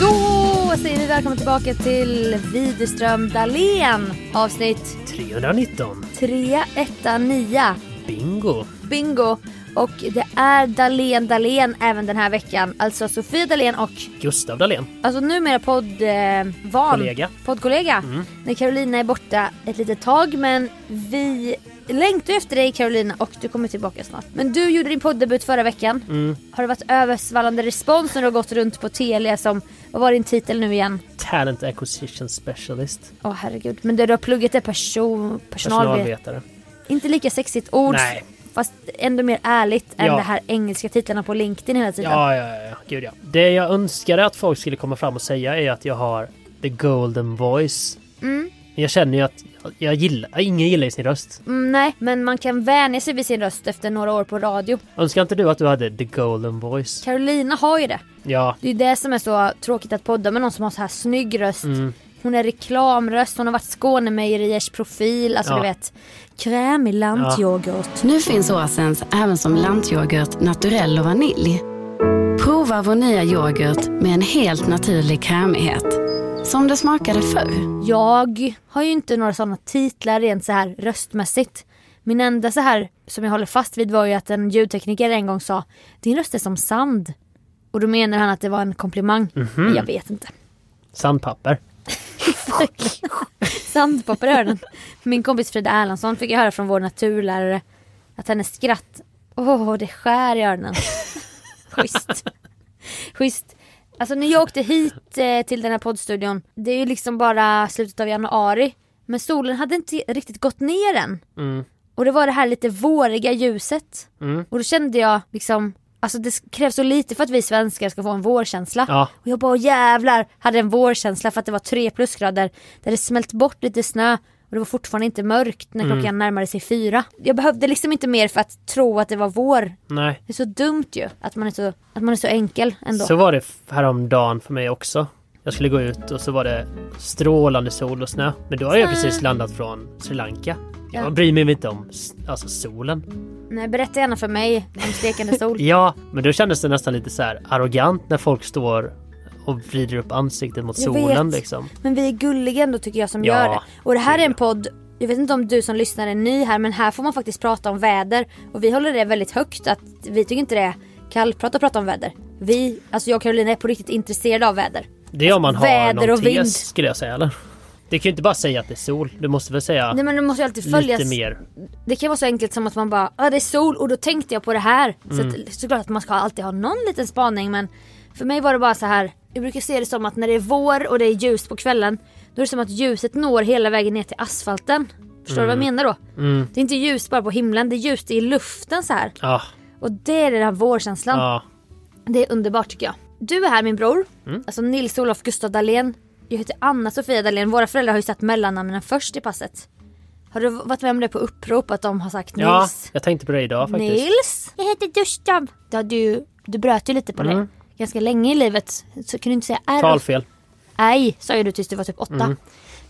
Då säger vi välkomna tillbaka till Widerström Dahlén avsnitt 319. 319. Bingo. Bingo! Och det är Dahlén Dahlén även den här veckan. Alltså Sofia Dahlén och Gustav Dahlén. alltså numera poddvan. Eh, van- Kollega. Poddkollega. När Carolina är borta ett litet tag men vi längtar efter dig Carolina och du kommer tillbaka snart. Men du gjorde din poddebut förra veckan. Har det varit översvallande respons när du har gått runt på Telia som, vad var din titel nu igen? Talent Acquisition Specialist. Åh herregud. Men det du har pluggat är person, personalvet. Personalvetare. Inte lika sexigt ord. Nej. Fast ändå mer ärligt än Ja. de här engelska titlarna på LinkedIn hela tiden. Ja, ja, ja, ja. Gud ja. Det jag önskade att folk skulle komma fram och säga är att jag har the golden voice. Men Jag känner ju att jag gillar, ingen gillar ju sin röst. Mm, nej, men man kan vänja sig vid sin röst efter några år på radio. Önskar inte du att du hade the golden voice? Carolina har ju det. Ja, Det är ju det som är så tråkigt att podda med någon som har så här snygg röst. Mm. Hon är reklamröst, hon har varit Skånemejeriers profil, alltså Ja. du vet. Krämig lantyoghurt. Nu finns Åsens även som lantyoghurt, naturell och vanilj. Prova vår nya yoghurt med en helt naturlig krämighet. Som det smakade förr. Jag har ju inte några sådana titlar rent så här röstmässigt. Min enda så här som jag håller fast vid var ju att en ljudtekniker en gång sa Din röst är som sand. Och då menar han att det var en komplimang. Men Jag vet inte. sandpapper. Sandpapper i öronen. Min kompis Frida Erlandsson fick jag höra från vår naturlärare att hennes skratt, åh det skär i öronen. Schysst. Schysst. Alltså när jag åkte hit eh, till den här poddstudion, det är ju liksom bara slutet av januari. Men solen hade inte riktigt gått ner än. Och det var det här lite våriga ljuset. Och då kände jag liksom, alltså det krävs så lite för att vi svenskar ska få en vårkänsla. Ja. Och jag bara "Åh, jävlar, hade en vårkänsla för att det var tre plusgrader. Där det smält bort lite snö och det var fortfarande inte mörkt när klockan närmade sig fyra. Jag behövde liksom inte mer för att tro att det var vår. Nej. Det är så dumt ju att man är så, att man är så enkel ändå. Så var det f- häromdagen för mig också. Jag skulle gå ut och så var det strålande sol och snö. Men då har jag precis landat från Sri Lanka. Ja. Jag bryr mig inte om s- alltså, solen. Nej, berätta gärna för mig om stekande sol. Ja, men då kändes det nästan lite så här arrogant när folk står och vrider upp ansiktet mot Jag solen vet. liksom. Men vi är gulliga ändå tycker jag som Ja, gör det. Och det här är en gud, podd, jag vet inte om du som lyssnar är ny här men här får man faktiskt prata om väder. Och vi håller det väldigt högt att vi tycker inte det är kallprat att prata om väder. Vi, alltså jag och Carolina är på riktigt intresserade av väder. Det är om man har väder någon och tes vind. skulle jag säga eller? Du kan ju inte bara säga att det är sol. Du måste väl säga Nej men det måste ju alltid följas. lite mer. Det kan vara så enkelt som att man bara, ja ah, det är sol och då tänkte jag på det här. Mm. Så att, såklart att man ska alltid ha någon liten spaning men för mig var det bara så här. Jag brukar se det som att när det är vår och det är ljust på kvällen då är det som att ljuset når hela vägen ner till asfalten. Förstår du Mm. vad jag menar då? Det är inte ljust bara på himlen, det är ljust i luften så här. Ja, Och det är den här vårkänslan. ja. Mm. Det är underbart tycker jag. Du är här min bror, alltså Nils-Olof Gustaf Dahlén. Jag heter Anna-Sofia Dahlén. Våra föräldrar har ju satt mellannamnen först i passet. Har du varit med om det på upprop att de har sagt Ja, Nils? jag tänkte på det idag faktiskt. Nils? Jag heter Duschab. Ja, du, du bröt ju lite på det. Mm. Ganska länge i livet. Så kunde du inte säga R. Talfel. Nej, sa ju du tills du var typ åtta. Mm.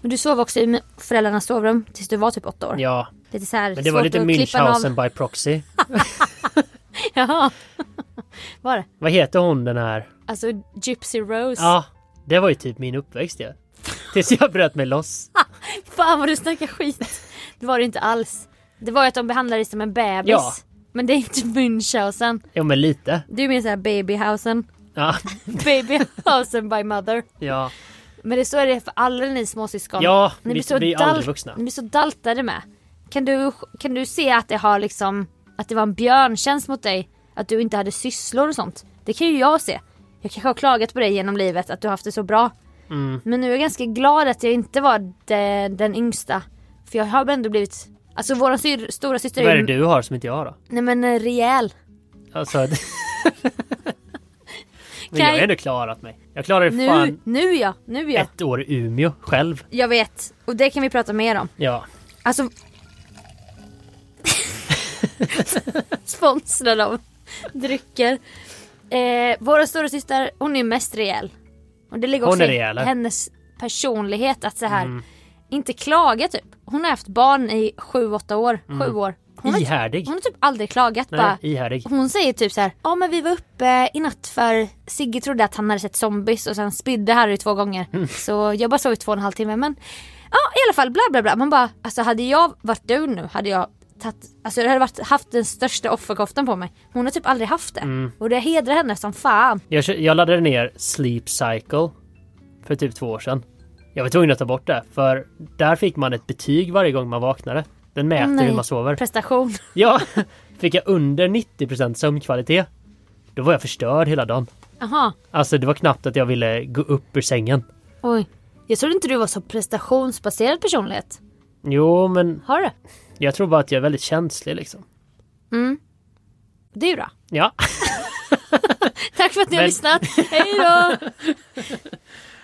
Men du sov också i föräldrarnas sovrum tills du var typ åtta år. Ja, Lite så här men det var svårt lite att klippa av. Münchhausen by proxy. Jaha. Var det? Vad heter hon den här? Alltså Gypsy Rose. Ja, det var ju typ min uppväxt ja. Tills jag bröt mig loss. Fan vad du snackar skit. Det var det inte alls. Det var ju att de behandlade dig som en bebis. Ja. Men det är inte Münchhausen. Jo men lite. Du är mer såhär babyhausen. Ja, Babyhausen by mother. ja. Men det så är det för alla ni småsyskon. Ja, ni vi- blir så vi är aldrig dalt- vuxna. Ni blir så daltade med. Kan du, kan du se att det har liksom, att det var en björntjänst mot dig? Att du inte hade sysslor och sånt? Det kan ju jag se. Jag kanske har klagat på dig genom livet, att du har haft det så bra. Mm. Men nu är jag ganska glad att jag inte var de, den yngsta. För jag har ändå blivit, alltså vår syr, stora syster Vad är det du har som inte jag har då? Nej men eh, rejäl. Alltså, men jag har ändå klarat mig. Jag klarade Nu, fan nu ja, nu ja. ett år i Umeå själv. Jag vet. Och det kan vi prata mer om. Ja. Alltså... Sponsrad av drycker. Eh, våra stora syster, hon är mest rejäl. Och det ligger Hon också är i rejäl. Mm. hennes personlighet att så här inte klaga typ. Hon har haft barn i sju, åtta år. Sju Mm. år. Hon har, Ihärdig. hon har typ aldrig klagat Nej, bara. ihärdig. Hon säger typ så här, ja men vi var uppe i natt för Sigge trodde att han hade sett zombies och sen spydde Harry två gånger. Mm. Så jag bara sov i två och en halv timme men ja i alla fall bla bla bla. Man bara, alltså hade jag varit du nu hade jag tagit, alltså jag hade varit, haft den största offerkoftan på mig. Hon har typ aldrig haft det. Mm. Och det hedrar henne som fan. Jag, kö- jag laddade ner Sleep Cycle för typ två år sedan. Jag var tvungen att ta bort det, för där fick man ett betyg varje gång man vaknade. Den mäter Nej. hur man sover. Prestation. Ja, fick jag under 90% sömnkvalitet, då var jag förstörd hela dagen. Jaha, Alltså det var knappt att jag ville gå upp ur sängen. oj. Jag trodde inte du var så prestationsbaserad personlighet. Jo, men Har du? jag tror bara att jag är väldigt känslig liksom. Det är ju bra. Ja, Tack för att ni har Men- lyssnat. Hej då!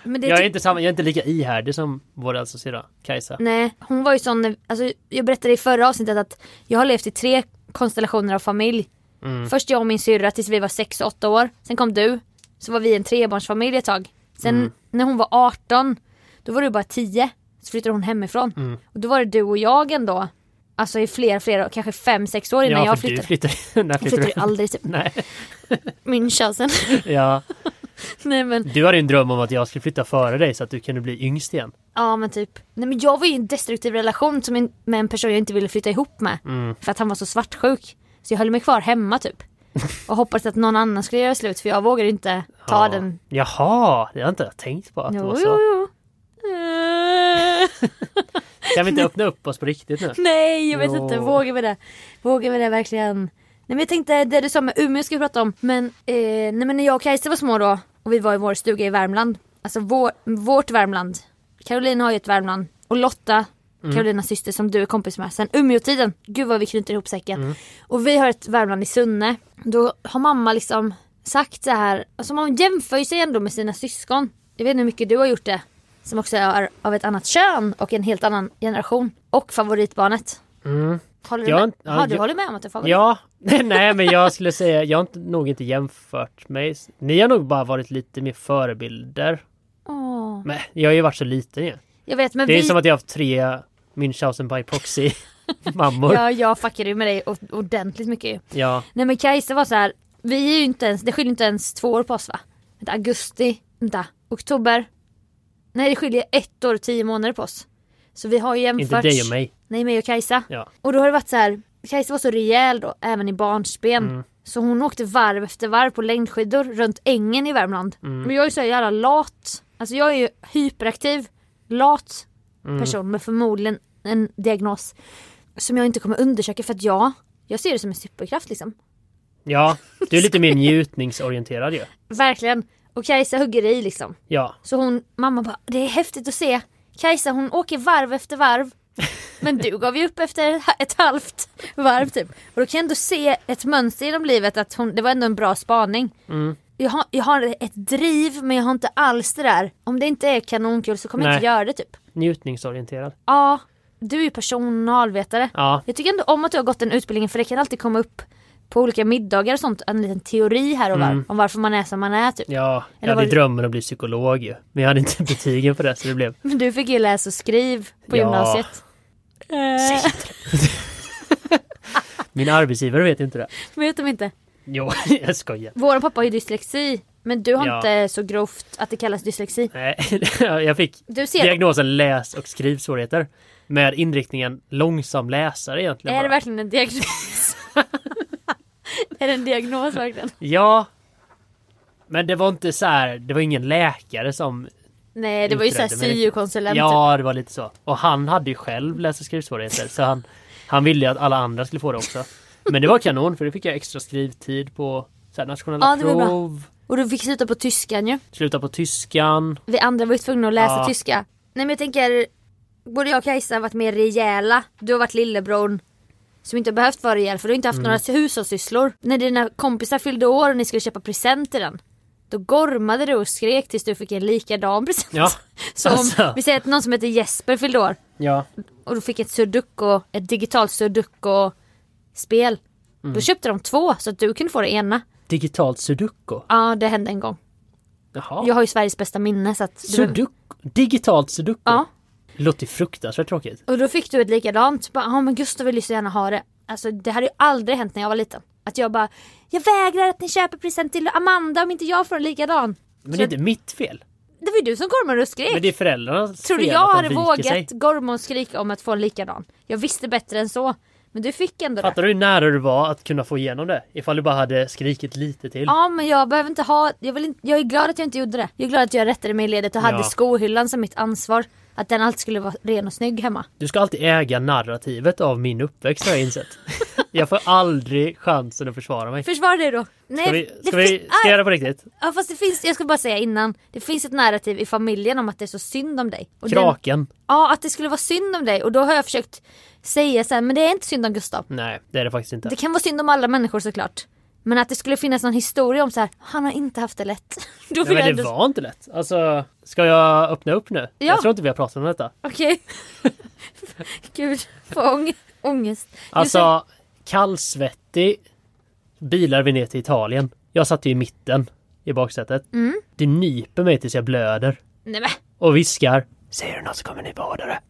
Men det typ tyck- jag är Mm, inte, samma, jag är inte lika ihärdig som vår äldsta syrra, Kajsa. Nej, hon var ju sån, alltså, jag berättade i förra avsnittet att jag har levt i tre konstellationer av familj. Mm. Först jag och min syrra tills vi var 6 och 8 år, sen kom du, så var vi en trebarnsfamilj ett tag. Sen Mm. när hon var 18, då var du bara 10, så flyttade hon hemifrån. Mm. Och då var det du och jag ändå, alltså i flera, flera, kanske 5-6 år innan ja, jag för du flyttade. flyttar. När Jag flyttar flyttade du? ju aldrig typ Nej, Münchhausen. ja. Nej men, Du hade ju en dröm om att jag skulle flytta före dig så att du kunde bli yngst igen. ja men typ. Nej men jag var ju i en destruktiv relation som en, med en person jag inte ville flytta ihop med. Mm. För att han var så svartsjuk. Så jag höll mig kvar hemma typ. Och hoppades att någon annan skulle göra slut för jag vågade inte ta Ja. den. Jaha, det har inte jag tänkt på att det Jo, var jo, så. jo. Eh, Kan vi inte öppna upp oss på riktigt nu? Nej jag vet Jo. inte, vågar vi det? Vågar vi det verkligen? Nej men jag tänkte det du sa med Umeå ska vi prata om. Men, eh, nej, men när jag och Kajsa var små då och vi var i vår stuga i Värmland. Alltså vår, vårt Värmland. Caroline har ju ett Värmland. Och Lotta, Carolinas syster som du är kompis med sen Umeåtiden. Gud vad vi knyter ihop säcken. Och vi har ett Värmland i Sunne. Då har mamma liksom sagt så här. Alltså man jämför ju sig ändå med sina syskon. Jag vet inte hur mycket du har gjort det. Som också är av ett annat kön och en helt annan generation. Och favoritbarnet. Håller du Jag- med? Mm. ja, har du jag- hållit med om att du är favorit? Ja, nej men jag skulle säga, jag har inte, nog inte jämfört mig. Ni har nog bara varit lite mer förebilder. Åh. Men jag har ju varit så liten ju. Jag vet men Det är vi... som att jag har haft tre Münchhausen by proxy mammor. Ja. Ja, jag fuckade ju med dig o- ordentligt mycket ju. Nej men Kajsa var så här. vi är ju inte ens, det skiljer inte ens två år på oss va? Vänta, augusti, vänta, oktober. Nej det skiljer ett år och tio månader på oss. Så vi har ju jämfört. inte dig och mig. Nej mig och Kajsa. Ja. Och då har det varit så här. Kajsa var så rejäl då, även i barnsben. Så hon åkte varv efter varv på längdskidor runt ängen i Värmland. Men jag är ju så här jävla lat. Alltså jag är ju hyperaktiv, lat person med förmodligen en diagnos. Som jag inte kommer undersöka för att jag, jag ser det som en superkraft liksom. Ja, du är lite mer njutningsorienterad ju. Verkligen. Och Kajsa hugger i liksom. Ja, Så hon, mamma bara, det är häftigt att se. Kajsa hon åker varv efter varv. Men du gav ju upp efter ett halvt varv typ. Och då kan jag ändå se ett mönster genom livet att hon, det var ändå en bra spaning. jag har, jag har ett driv men jag har inte alls det där. Om det inte är kanonkul så kommer jag Nej. inte göra det typ. Njutningsorienterad. Ja, du är ju personalvetare. Ja. Jag tycker ändå om att du har gått den utbildningen för det kan alltid komma upp på olika middagar och sånt, en liten teori här och var om varför man är som man är typ. Ja, jag Eller hade var ju det- drömmen att bli psykolog ju. Men jag hade inte betygen för det så det blev... Men du fick ju läs och skriv på Ja. gymnasiet. Eh, Min arbetsgivare vet ju inte det. vet de inte. Jo, jag skojar. Vår pappa har ju dyslexi. Men du har Ja. inte så grovt att det kallas dyslexi. Nej, jag fick Du ser, diagnosen läs och skrivsvårigheter. Med inriktningen långsam läsare egentligen. är det bara. verkligen en diagnos? är det en diagnos verkligen? Ja. Men det var inte så här, det var ingen läkare som... Nej det var ju såhär Utredde mig. syokonsulent. typ. Ja, det var lite så. Och han hade ju själv läs och skrivsvårigheter. så han, han ville ju att alla andra skulle få det också. Men det var kanon för det fick jag extra skrivtid på så här, nationella Ja, det var bra. prov. Och du fick sluta på tyskan ju. Sluta på tyskan. Vi andra var ju tvungna att läsa Ja. tyska. Nej men jag tänker, både jag och Kajsa har varit mer rejäla. Du har varit lillebror som inte har behövt vara rejäl för du har inte haft Mm. några hushållssysslor. När dina kompisar fyllde år och ni skulle köpa present till den. Då gormade du och skrek tills du fick en likadan present. Ja, Så om, alltså. vi säger att någon som heter Jesper fyllde år Ja. och du fick ett sudoku, ett digitalt sudoku-spel. Mm. Då köpte de två så att du kunde få det ena. Digitalt sudoku. Ja, det hände en gång. Jaha. Jag har ju Sveriges bästa minne så att... Sudoku. Digitalt sudoku. Ja. Låter fruktansvärt tråkigt. Och då fick du ett likadant. Bara, Ja men Gustav vill ju så gärna ha det. Alltså det hade ju aldrig hänt när jag var liten. Att jag bara, jag vägrar att ni köper present till Amanda om inte jag får en likadan. Men det är inte mitt fel. Det var ju du som gormade och skrek. Men det är föräldrarnas Tror du fel jag att de hade viker vågat sig. gorma och skrika om att få en likadan? Jag visste bättre än så. Men du fick ändå det. Fattar du hur nära du var att kunna få igenom det? Ifall du bara hade skrikit lite till. Ja men jag behöver inte ha, jag, vill inte, jag är glad att jag inte gjorde det. Jag är glad att jag rättade mig i ledet och hade Ja. skohyllan som mitt ansvar. Att den alltid skulle vara ren och snygg hemma. Du ska alltid äga narrativet av min uppväxt har jag insett. jag får aldrig chansen att försvara mig. Försvara dig då. Nej, Ska vi, det ska vi fin- ska jag göra det på riktigt? Ja fast det finns, jag ska bara säga innan. Det finns ett narrativ i familjen om att det är så synd om dig. Och den- Kraken? ja att det skulle vara synd om dig och då har jag försökt säga så här, men det är inte synd om Gustav. Nej, det är det faktiskt inte. Det kan vara synd om alla människor såklart. Men att det skulle finnas någon historia om så här, han har inte haft det lätt. Då vill Nej, jag men det ändå... var inte lätt. Alltså, ska jag öppna upp nu? Jag tror inte vi har pratat om detta. Okej. Gud, får ång- ångest. Du säger- Alltså, kallsvettig bilar vi ner till Italien. Jag satt ju i mitten i baksätet. Mm. Det nyper mig tills jag blöder Nej men och viskar. Ser du något så kommer ni båda det.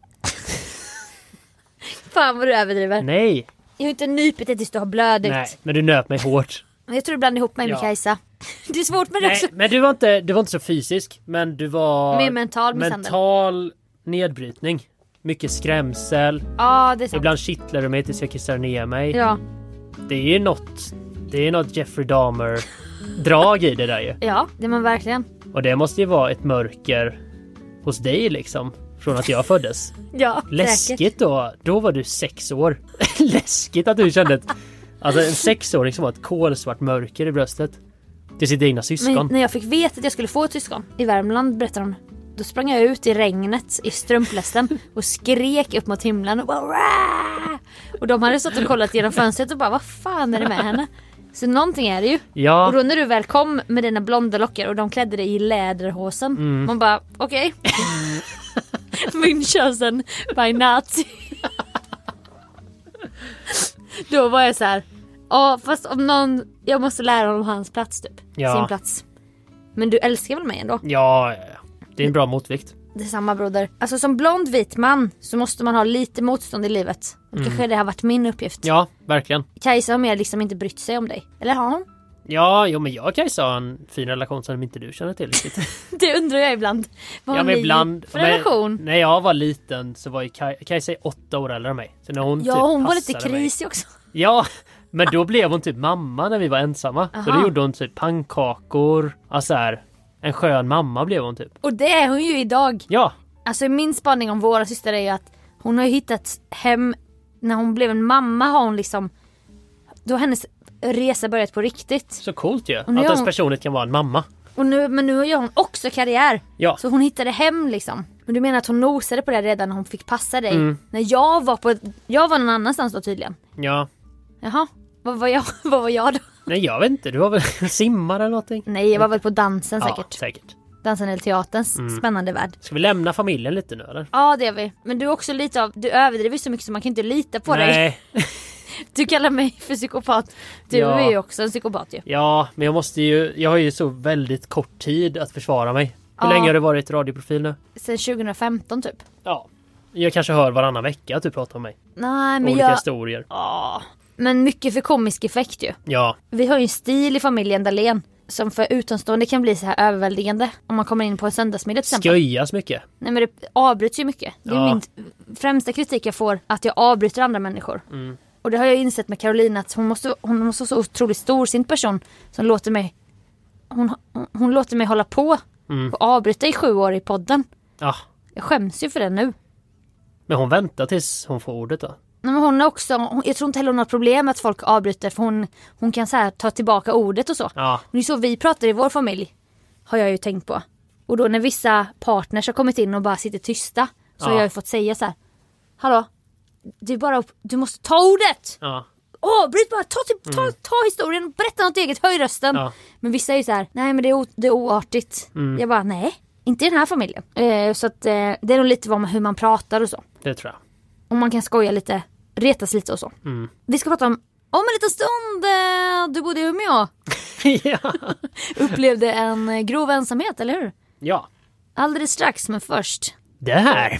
fan vad du överdriver. Nej, Jag har inte nypit dig tills du har blödigt. nej, men du nöp mig hårt. Jag tror du blandar ihop mig med Ja. Kajsa. Det är svårt med det Nej, också. men du var inte, du var inte så fysisk, men du var Alltså- Mer mental misshandel. mental nedbrytning. Mycket skrämsel, Ja det är sant. ibland kittlar du mig tills jag kissar ner mig. Ja. Det är ju något, det är något Jeffrey Dahmer drag i det där ju. Ja, det är man verkligen. Och det måste ju vara ett mörker hos dig liksom. Från att jag föddes. Ja, säkert. Läskigt då. Då var du sex år. Läskigt att du kände ett... Alltså en sexåring som har ett kolsvart mörker i bröstet. Till sitt egna Men syskon. när jag fick veta att jag skulle få ett syskon i Värmland berättar hon. Då sprang jag ut i regnet i strumplästen och skrek upp mot himlen och bara "Wah!" Och de hade stått och kollat genom fönstret och bara vad fan är det med henne? Så någonting är det ju. Ja. Och då när du väl kom med dina blonda lockar och de klädde dig i läderhosen. Mm. Man bara okej. Münchhausen by Nazi. då var jag så här. Ja fast om någon, jag måste lära honom hans plats typ. Ja. Sin plats. Men du älskar väl mig ändå? Ja, ja, ja. det är en bra motvikt. Detsamma broder. Alltså som blond vit man så måste man ha lite motstånd i livet. Och kanske det har varit min uppgift. Mm. Ja, verkligen. Kajsa har mer liksom inte brytt sig om dig. Eller har hon? Ja, jo, men jag kan ju ha en fin relation som inte du känner till riktigt. Det undrar jag ibland. Vad ja, har men ni ibland, för relation? Men, när jag var liten så var ju Kaj- Kajsa är åtta år äldre än mig. Så när hon ja typ hon var lite passade mig- krisig också. Ja, men då blev hon typ mamma när vi var ensamma. Så Aha. då gjorde hon typ pannkakor. Alltså här, en skön mamma blev hon typ. Och det är hon ju idag. Ja, Alltså min spaning om våra systrar är ju att hon har ju hittat hem, när hon blev en mamma har hon liksom, då har hennes resa börjat på riktigt. så coolt ju. Att nu gör ens hon- personlighet kan vara en mamma. Och nu, men nu gör hon också karriär. Ja. Så hon hittade hem liksom. Men du menar att hon nosade på det redan när hon fick passa dig? Mm. När jag var på, jag var någon annanstans då tydligen. Ja, Jaha, vad var jag, vad var jag då? Nej, jag vet inte. Du var väl simmar eller någonting? Nej, jag var väl på dansen Ja, Mm. säkert. säkert. Dansen eller teaterns spännande värld. Ska vi lämna familjen lite nu eller? Ja det är vi. Men du är också lite av, du överdriver så mycket så man kan inte lita på dig. Nej, Du kallar mig för psykopat. Du Ja. är ju också en psykopat ju. ja, men jag måste ju. Jag har ju så väldigt kort tid att försvara mig. Hur Ja. länge har du varit radioprofil nu? Sen 2015 typ. Ja, jag kanske hör varannan vecka att du pratar om mig. Nej men Olika jag... historier. Ja. Men mycket för komisk effekt ju. Ja, Vi har ju en stil i familjen Dahlén som för utomstående kan bli så här överväldigande. Om man kommer in på en söndagsmiddag till exempel. sköjas mycket. Nej men det avbryts ju mycket. Det är Ja. min främsta kritik jag får, att jag avbryter andra människor. Och det har jag insett med Caroline att hon måste, hon måste vara så otroligt storsint person som låter mig hon, hon, hon låter mig hålla på och avbryta i sju år i podden. Ja, Jag skäms ju för det nu. men hon väntar tills hon får ordet då. Nej, men hon är också, hon, jag tror inte heller hon har problem med att folk avbryter för hon, hon kan så här ta tillbaka ordet och så. Ja, Det är så vi pratar i vår familj. Har jag ju tänkt på. Och då när vissa partners har kommit in och bara sitter tysta. Så har Ja. jag ju fått säga så här. Hallå? Du, bara, upp- du måste ta ordet! ja, Åh, bryt bara! Ta, till, ta, ta historien, berätta något eget, höj rösten! Mm. Ja. Mm. Men vissa är ju så här, nej men det är, o, det är oartigt. Jag bara, nej, inte i den här familjen. Eh, så att eh, det är nog lite vad man, hur man pratar och så. det tror jag. Om man kan skoja lite, retas lite och så. Mm. Vi ska prata om, om en liten stund, eh, du bodde i Umeå ja. upplevde en eh, grov ensamhet, eller hur? ja, Alldeles strax, men först. det här.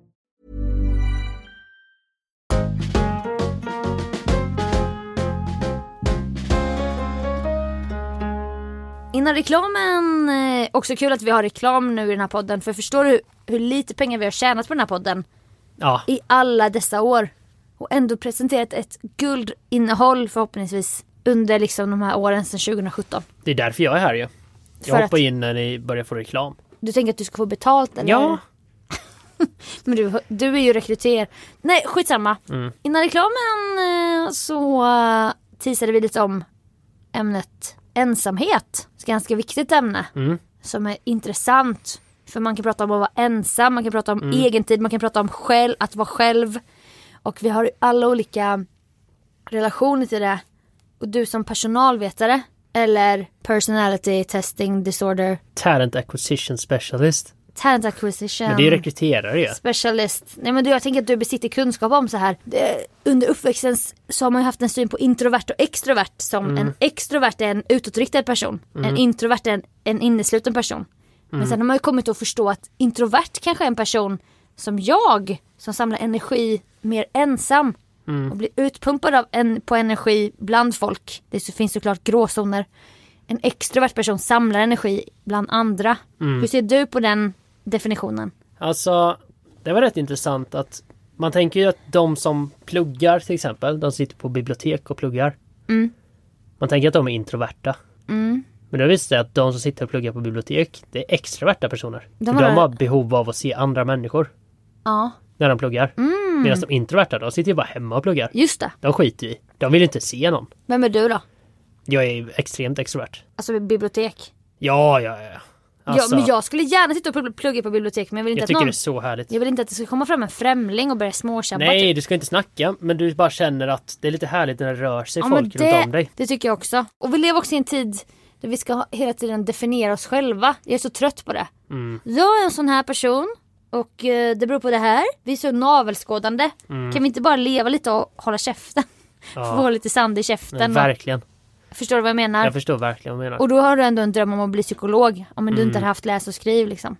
Innan reklamen, eh, också kul att vi har reklam nu i den här podden. För förstår du hur lite pengar vi har tjänat på den här podden Ja, i alla dessa år? Och ändå presenterat ett guldinnehåll förhoppningsvis under liksom de här åren sedan 2017. det är därför jag är här ju. För Jag att- hoppar in när ni börjar få reklam. Du tänker att du ska få betalt eller? Ja, Men du, du är ju rekryter. Nej, skitsamma. Mm. Innan reklamen eh, så eh, teasade vi lite om ämnet ensamhet. Ett ganska viktigt ämne Mm. som är intressant. För man kan prata om att vara ensam, man kan prata Mm. om egentid, man kan prata om själv, att vara själv. Och vi har ju alla olika relationer till det. Och du som personalvetare eller personality testing disorder, Talent Acquisition Specialist. talent acquisition. Men det är ju rekryterare ju. Specialist. Nej men du, jag tänker att du besitter kunskap om så här. Det- Under uppväxten s- så har man ju haft en syn på introvert och extrovert som en extrovert är en utåtriktad person. En introvert är en, en innesluten person. Men sen har man ju kommit att förstå att introvert kanske är en person som jag som samlar energi mer ensam och blir utpumpad av en, på energi bland folk. Det så- finns såklart gråzoner. En extrovert person samlar energi bland andra. Hur ser du på den definitionen? Alltså, det var rätt intressant att man tänker ju att de som pluggar till exempel, de sitter på bibliotek och pluggar. Mm. Man tänker att de är introverta. Mm. Men det visar sig att de som sitter och pluggar på bibliotek, det är extroverta personer. De De har, har- de har behov av att se andra människor Ja, när de pluggar. Mm. Medan de introverta, de sitter ju bara hemma och pluggar. just det. De skiter ju i. De vill ju inte se någon. Vem är du då? Jag är ju extremt extrovert. Alltså bibliotek. Ja, ja, ja. Alltså, ja, men jag skulle gärna sitta och pl- plugga på bibliotek men jag vill inte jag att tycker någon... det är så härligt. Jag vill inte att det ska komma fram en främling och börja småtjabba. typ. Nej, du ska inte snacka, men du bara känner att det är lite härligt när det rör sig Ja, men folk runt om dig. Det tycker jag också. Och vi lever också i en tid där vi ska ha- hela tiden definiera oss själva. Jag är så trött på det. Mm. Jag är en sån här person och eh, det beror på det här. Vi är så navelskådande. Kan vi inte bara leva lite och hålla käften? Mm. Ja. Få lite sand i Men käften. Och, verkligen. förstår du vad jag menar? Jag förstår verkligen vad du menar. och då har du ändå en dröm om att bli psykolog. Om men du Mm. inte hade haft läs och skriv liksom.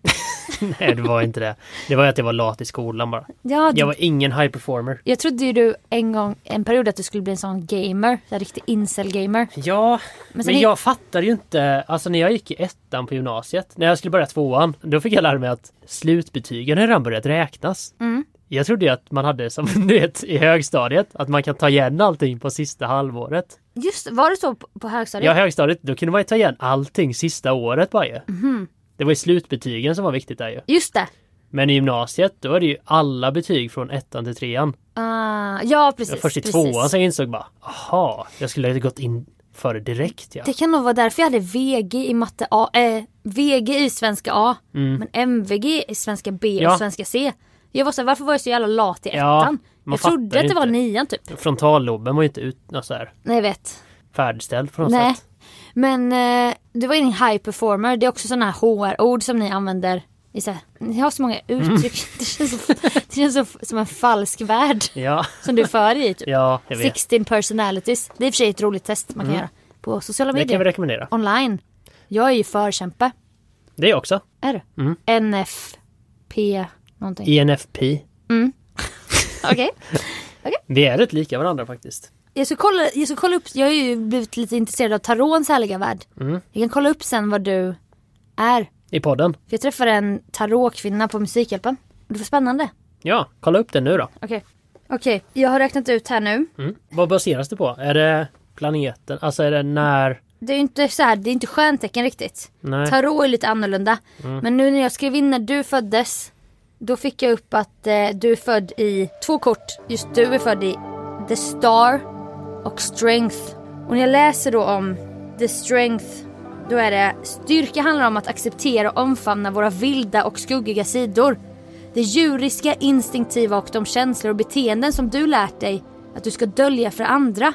Nej, det var inte det. Det var ju att jag var lat i skolan bara. Ja, Jag jag, var ingen high performer. jag trodde ju du en gång, en period att du skulle bli en sån gamer. En riktig incel-gamer. Ja, men, Men sen är- jag fattade ju inte. Alltså när jag gick i ettan på gymnasiet, när jag skulle börja tvåan, då fick jag lära mig att slutbetygen har redan börjat räknas. Mm. Jag trodde ju att man hade som du vet i högstadiet, att man kan ta igen allting på sista halvåret. Just var det så på, på högstadiet? Ja, högstadiet, då kunde man ju ta igen allting sista året bara ju. Mhm. Det var ju slutbetygen som var viktigt där ju. Just det. Men i gymnasiet, då var det ju alla betyg från ettan till trean. Ah, ja Det var precis. först i precis. tvåan som jag insåg bara, aha, jag skulle ha gått in för det direkt ja. Det kan nog vara därför jag hade VG i matte A, eh, VG i svenska A men MVG i svenska B Mm. Ja. och svenska C. Jag var så här, varför var jag så jävla lat i Ja, ettan? man jag fattar trodde att det var inte. nian typ. Frontalloben var ju inte ut, något så här, Nej jag vet. färdigställd på något Nej. sätt. Men eh, du var ju en high performer, det är också sådana här HR-ord som ni använder. I så här, ni har så många Mm. uttryck, det känns, så, det känns så, som en falsk värld Ja, som du för i. Typ. ja, jag vet. 16 personalities, det är i och för sig ett roligt test man kan göra på sociala Det kan vi medier. rekommendera. Online. Jag är ju förkämpe. Det är också. R. Mm. NFP någonting. E INFP. Okej. Vi är rätt lika varandra faktiskt. Jag, ska kolla, jag ska kolla upp, jag har ju blivit lite intresserad av tarons härliga värld. Mm. Jag kan kolla upp sen vad du är. I podden. För jag träffade en tarotkvinna på Musikhjälpen. Det var spännande. Ja, kolla upp den nu då. Okej. Okej, jag har räknat ut här nu. Mm. Vad baseras det på? Är det planeten? Alltså är det när? Det är ju inte så här, det är inte stjärntecken riktigt. Nej. Tarot är lite annorlunda. Men nu när jag skrev in när du föddes. Då fick jag upp att eh, du är född i två kort. Just du är född i The Star och Strength. Och när jag läser då om The Strength. Då är det styrka handlar om att acceptera och omfamna våra vilda och skuggiga sidor. Det djuriska, instinktiva och de känslor och beteenden som du lärt dig att du ska dölja för andra.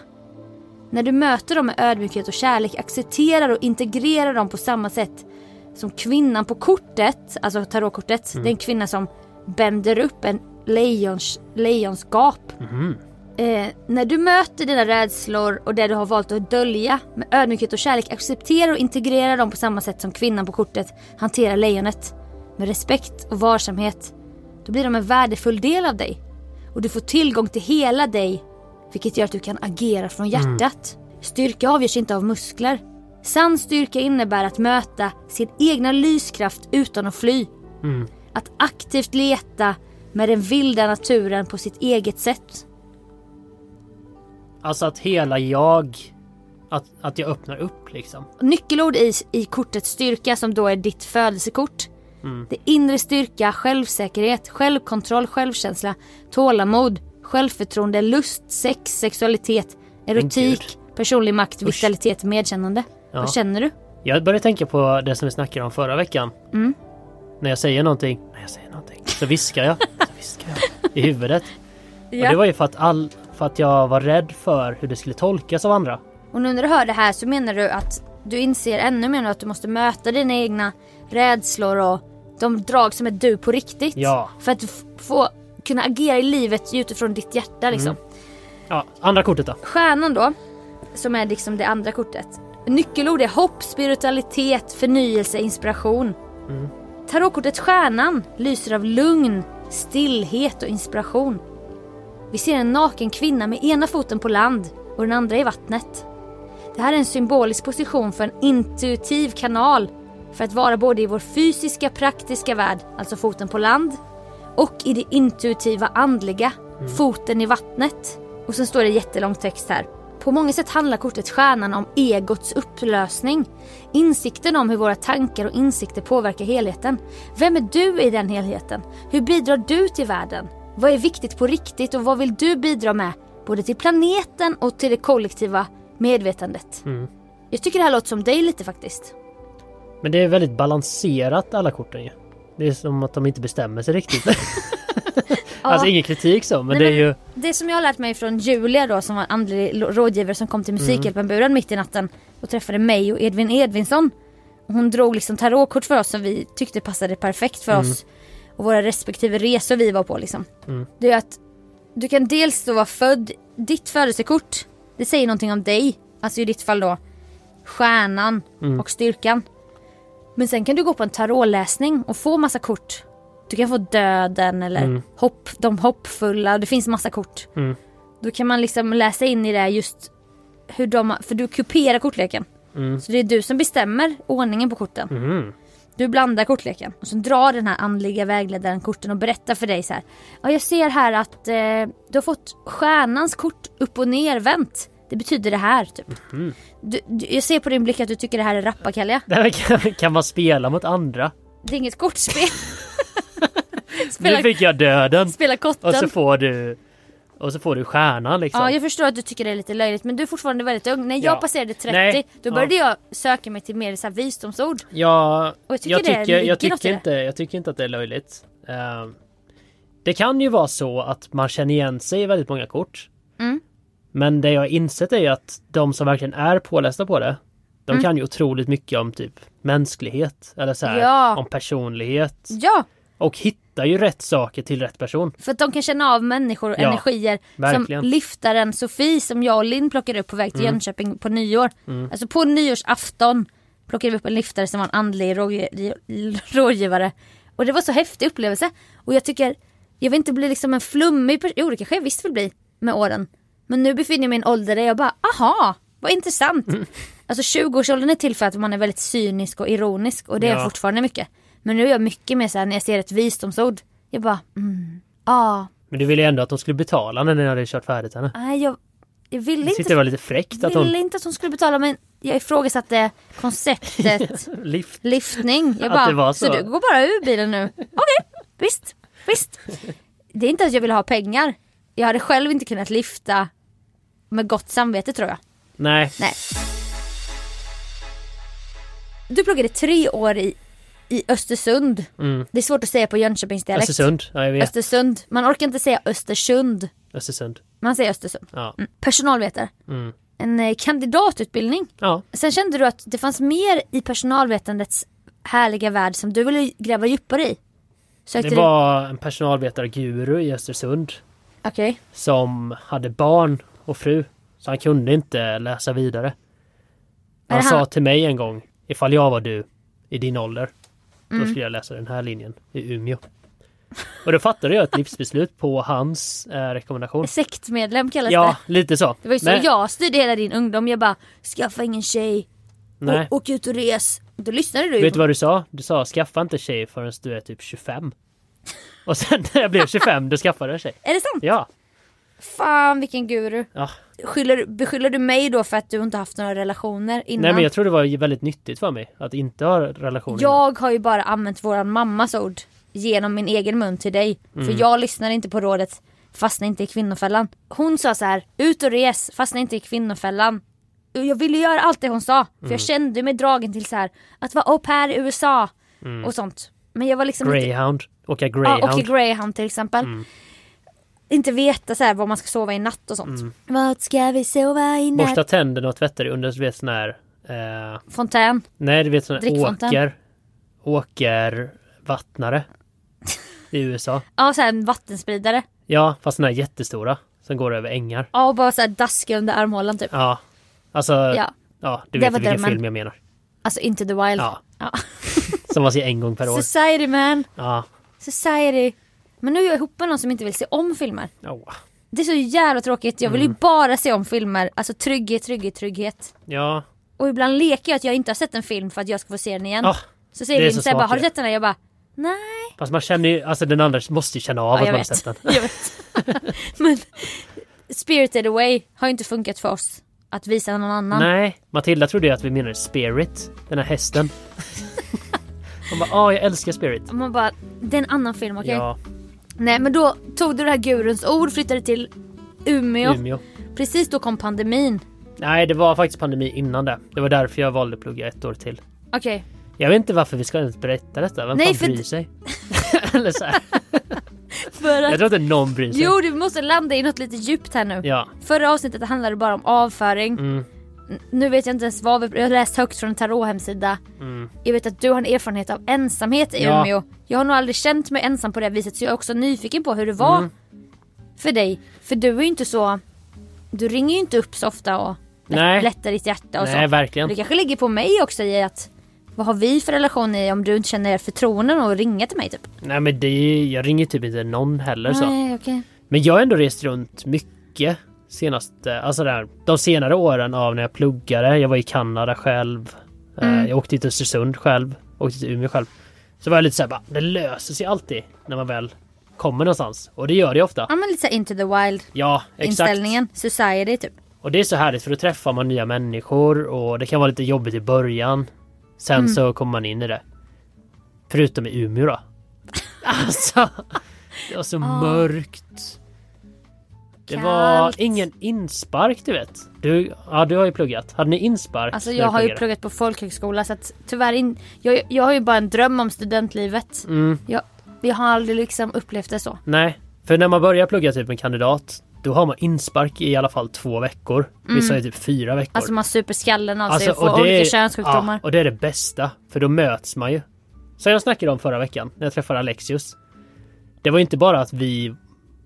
När du möter dem med ödmjukhet och kärlek, accepterar och integrerar dem på samma sätt som kvinnan på kortet, alltså tarotkortet, det är en kvinna som bänder upp en lejons, lejonsgap. Eh, när du möter dina rädslor och det du har valt att dölja med ödmjukhet och kärlek, acceptera och integrera dem på samma sätt som kvinnan på kortet hanterar lejonet. Med respekt och varsamhet. Då blir de en värdefull del av dig. Och du får tillgång till hela dig vilket gör att du kan agera från hjärtat. Styrka avgörs inte av muskler. Sann styrka innebär att möta sin egna lyskraft utan att fly. Att aktivt leta med den vilda naturen på sitt eget sätt. Alltså att hela jag, att, att jag öppnar upp liksom. Nyckelord i, i kortet styrka som då är ditt födelsekort. Det är inre styrka, självsäkerhet, självkontroll, självkänsla, tålamod, självförtroende, lust, sex, sexualitet, erotik, personlig makt, vitalitet, medkännande. Ja. Vad känner du? Jag började tänka på det som vi snackade om förra veckan. När jag säger någonting, när jag säger någonting, så viskar jag. Så viskar jag I huvudet. Och det var ju för att, all, för att jag var rädd för hur det skulle tolkas av andra. Och nu när du hör det här så menar du att du inser ännu mer nu att du måste möta dina egna rädslor och de drag som är du på riktigt. Ja. För att f- få kunna agera i livet utifrån ditt hjärta liksom. Mm. Ja, andra kortet då. Stjärnan då, som är liksom det andra kortet. Nyckelord är hopp, spiritualitet, förnyelse, inspiration. Tarotkortet Stjärnan lyser av lugn, stillhet och inspiration. Vi ser en naken kvinna med ena foten på land och den andra i vattnet. Det här är en symbolisk position för en intuitiv kanal för att vara både i vår fysiska praktiska värld, alltså foten på land, och i det intuitiva andliga, foten i vattnet. Och sen står det jättelång text här. På många sätt handlar kortet stjärnan om egots upplösning. Insikten om hur våra tankar och insikter påverkar helheten. Vem är du i den helheten? Hur bidrar du till världen? Vad är viktigt på riktigt och vad vill du bidra med? Både till planeten och till det kollektiva medvetandet. Jag tycker det här låter som dig lite faktiskt. Men det är väldigt balanserat alla korten ju. Det är som att de inte bestämmer sig riktigt. alltså ingen kritik så, Nej, men det är ju... Det som jag har lärt mig från Julia då som var en andlig lo- rådgivare som kom till Musikhjälpen-buren mitt i natten och träffade mig och Edvin Edvinsson. Hon drog liksom tarotkort för oss som vi tyckte passade perfekt för oss och våra respektive resor vi var på liksom. Det är att du kan dels då vara född, ditt födelsekort, det säger någonting om dig, alltså i ditt fall då stjärnan och styrkan. Men sen kan du gå på en tarotläsning och få massa kort. Du kan få döden eller hopp, de hoppfulla, det finns massa kort. Då kan man liksom läsa in i det just hur de, har- för du kuperar kortleken. Så det är du som bestämmer ordningen på korten. Du blandar kortleken och så drar den här andliga vägledaren korten och berättar för dig så här. Ja, jag ser här att eh, du har fått stjärnans kort upp och nervänt. Det betyder det här typ. Du, du, jag ser på din blick att du tycker det här är rappakalja. Det här kan, kan man spela mot andra? Det är inget kortspel. Nu spela, fick Alltså, jag döden! spela kotten. Och så får du... Och så får du stjärnan liksom. Ja, jag förstår att du tycker det är lite löjligt men du är fortfarande väldigt ung. När jag Ja. passerade 30 Nej. då började jag söka mig till mer så här visdomsord. Ja, Och jag tycker jag det tycker, ligger jag något tycker, i det. inte, jag tycker inte att det är löjligt. Ehm, det kan ju vara så att man känner igen sig i väldigt många kort. Mm. Men det jag har insett är ju att de som verkligen är pålästa på det, de Mm. kan ju otroligt mycket om typ mänsklighet eller så här, Ja. om personlighet Ja, och hittar ju rätt saker till rätt person. för att de kan känna av människor och Ja, energier verkligen. Mm. som lyftaren Sofie som jag och Linn plockade upp på väg till Jönköping på nyår. Alltså på nyårsafton plockade vi upp en lyftare som var en andlig rådgi- rådgivare. Och det var så häftig upplevelse. Och jag tycker, jag vill inte bli liksom en flummig person, jo det kanske jag visst vill bli med åren. Men nu befinner jag mig i en ålder där jag bara, aha, vad intressant. Mm. Alltså 20-årsåldern är till för att man är väldigt cynisk och ironisk och det är Ja. jag fortfarande mycket. Men nu är jag mycket mer såhär när jag ser ett visdomsord, jag bara, mm, ah, Men du ville ju ändå att de skulle betala när ni hade kört färdigt henne. nej jag, jag ville Jag tyckte det inte, var lite fräckt att ville hon inte att hon skulle betala men jag ifrågasatte konceptet lyft. lyftning. Jag Att bara, det var så. så. du går bara ur bilen nu? Okej, visst, visst. Det är inte att jag vill ha pengar. Jag hade själv inte kunnat lyfta med gott samvete tror jag. Nej. Nej. Du pluggade tre år i, i Östersund. Det är svårt att säga på Jönköpingsdialekt. Mm. Östersund. Ja, jag vet. Östersund. Man orkar inte säga Östersund. Östersund. Man säger Östersund. Ja. Mm. Personalvetare. Mm. En eh, kandidatutbildning. Ja. Sen kände du att det fanns mer i personalvetandets härliga värld som du ville gräva djupare i. Sökte Det du? var en personalvetarguru i Östersund Okej. som hade barn och fru. Så han kunde inte läsa vidare. Han det sa han- till mig en gång, ifall jag var du i din ålder, Mm. då skulle jag läsa den här linjen i Umeå. Och då fattade jag ett livsbeslut på hans eh, rekommendation. Sektmedlem kallas Ja, det. lite så. Det var ju så Men- jag styrde hela din ungdom. Jag bara, skaffa ingen tjej, nej. åk ut och res. Då lyssnade du ju. Vet du vad du sa? Du sa skaffa inte tjej förrän du är typ 25. Och sen när jag blev 25 då skaffade jag tjej. Är det sant? Ja. Fan vilken guru. ja. Skyller, beskyller du mig då för att du inte haft några relationer innan? Nej men jag tror det var väldigt nyttigt för mig att inte ha relationer. Jag har ju bara använt våran mammas ord genom min egen mun till dig. Mm. För jag lyssnade inte på rådet fastna inte i kvinnofällan. Hon sa så här, ut och res, fastna inte i kvinnofällan. Och Jag ville göra allt det hon sa. För Mm. jag kände mig dragen till så här att vara au pair i USA och sånt. Men jag var liksom inte Mm. Greyhound. Mm. Åka greyhound. Ja, och i greyhound till exempel. Inte veta så här var man ska sova i natt och sånt. Vad ska vi sova i natt? Mm. Borsta tänderna och tvätta dig under du vet sån här... Eh, Fontän. nej du vet sån här Drickfontän. åker... Åkervattnare. I USA. Ja, så här en vattenspridare. Ja fast såna här jättestora. Som går över ängar. Ja, och bara så här daska under armhålan typ. Ja. Alltså... Ja. Ja. du Det vet var vilken drömmen. film jag menar. Alltså Into the Wild. Ja. Ja. Som man ser en gång per år. Society man. Ja. Society. Men nu är jag ihop med någon som inte vill se om filmer. Åh. Det är så jävla tråkigt. Jag vill Mm. ju bara se om filmer. Alltså trygghet, trygghet, trygghet. Ja. Och ibland leker jag att jag inte har sett en film för att jag ska få se den igen. Ah, så säger det är Linn så såhär bara, smart har du ju. sett den här? Jag bara, nej. Fast man känner ju, alltså den andra måste ju känna av Ja, att jag man har vet. sett den. jag vet. Men Spirited Away har ju inte funkat för oss att visa någon annan. Nej, Matilda trodde ju att vi menade Spirit, den här hästen. Hon bara, ah jag älskar Spirit. Och Man bara, det är en annan film, okej? Ja, Nej men då tog du det här guruns ord, flyttade till Umeå. Umeå. Precis då kom pandemin. Nej, det var faktiskt pandemi innan det. Det var därför jag valde att plugga ett år till. Okej, Jag vet inte varför vi ska ens berätta detta. Vem Nej, fan för- bryr sig? Eller så här. för Jag att... tror inte någon bryr sig. Jo, du måste landa i något lite djupt här nu. Ja. Mm. Förra avsnittet handlade bara om avföring. N- Nu vet jag inte ens vad vi... Jag har läst högt från en tarothemsida. Jag vet att du har en erfarenhet av ensamhet i Mm. Ja. Umeå. Jag har nog aldrig känt mig ensam på det viset så jag är också nyfiken på hur det var Mm. för dig. För du är ju inte så... Du ringer ju inte upp så ofta och lätt- alltså. Nej. lättar ditt hjärta och så. Nej, verkligen. Det kanske ligger på mig också i att vad har vi för relation i om du inte känner förtroende nog att ringa till mig typ? Nej men det, är- jag ringer typ inte någon heller så. Nej, okej. Men jag har ändå rest runt mycket senaste, alltså där, de senare åren av när jag pluggade. Jag var i Kanada själv. Eh, Jag åkte till Östersund själv. Åkte till Umeå själv. Så var jag lite såhär bara, det löser sig alltid när man väl kommer någonstans. Och det gör det ju ofta. Ja men lite såhär into the wild Ja, exakt. Mm. inställningen, society typ. Och det är så härligt för då träffar man nya människor och det kan vara lite jobbigt i början. Sen Mm. så kommer man in i det. Förutom i Umeå då. Alltså, det var så mörkt. Det var Kallt. ingen inspark du vet. Du, ja, du har ju pluggat. Hade ni inspark? Alltså när jag du har ju pluggade? pluggat på folkhögskola så att tyvärr in, jag, jag har ju bara en dröm om studentlivet. Mm. Jag, jag har aldrig liksom upplevt det så. Nej, för när man börjar plugga typ en kandidat då har man inspark i alla fall två veckor. Vissa är typ fyra veckor. Mm. Alltså man super skallen av sig och Alltså, får Alltså, det olika är- könssjukdomar. Ja, och det är det bästa, för då möts man ju. Som jag snackade om förra veckan, när jag träffade Alexius. Det var ju inte bara att vi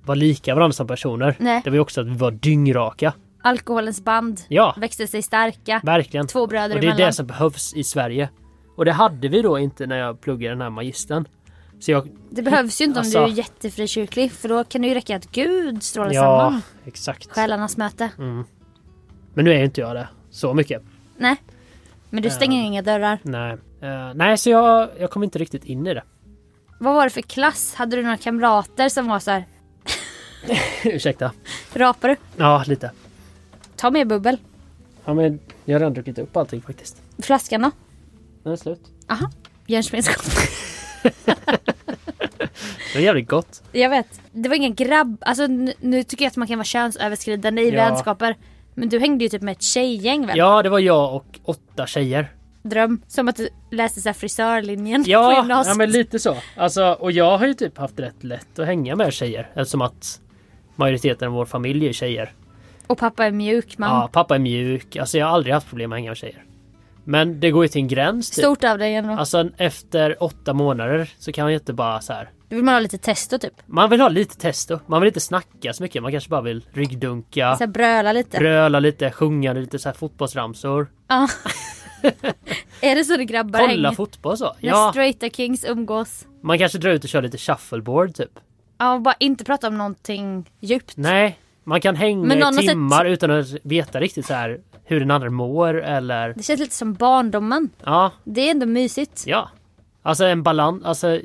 var lika varandra som personer. Nej. Det var ju också att vi var dyngraka. Alkoholens band Ja. växte sig starka. Verkligen. Två bröder Och det är emellan. det som behövs i Sverige. Och det hade vi då inte när jag pluggade den här magistern. Så jag... Det behövs ju inte om Alltså- du är jättefrikyrklig för då kan det ju räcka att Gud strålar Ja, Mm. samman. exakt. Själarnas möte. Men nu är ju inte jag det så mycket. Nej. Men Eh. du stänger inga dörrar. Nej. Eh, nej, så jag, jag kom inte riktigt in i det. Vad var det för klass? Hade du några kamrater som var så här, Ursäkta. rapar du? Ja, lite. Ta med bubbel. Ja, men jag har redan druckit upp allting faktiskt. Flaskan då? Nu är det slut. Aha. Björnsmedskopp. Det var jävligt gott. Jag vet. Det var ingen grabb. Alltså nu, nu tycker jag att man kan vara könsöverskridande i Ja. vänskaper. Men du hängde ju typ med ett tjejgäng väl? Ja, det var jag och åtta tjejer. Dröm. Som att du läste så här frisörlinjen på Ja, ja gymnasiet. men lite så. Alltså, och jag har ju typ haft rätt lätt att hänga med tjejer eftersom att majoriteten av vår familj är tjejer. Och pappa är mjuk man. Ja, pappa är mjuk. Alltså jag har aldrig haft problem med att hänga med tjejer. Men det går ju till en gräns typ. Stort av dig ändå. Alltså efter åtta månader så kan man ju inte bara så här. Då vill man ha lite testo typ. Man vill ha lite testo. Man vill inte snacka så mycket. Man kanske bara vill ryggdunka, Så här, bröla Alltså, lite. bröla lite, sjunga lite så här fotbollsramsor. ja. är det så det grabbar Kolla hänger? fotboll så. När Ja, straighta kings umgås. man kanske drar ut och kör lite shuffleboard typ. Ja, och bara inte prata om någonting djupt. Nej, man kan hänga Men någon har i sett- timmar utan att veta riktigt så här hur den andra mår eller Det känns lite som barndomen. ja, Det är ändå mysigt. ja. Alltså en balans, alltså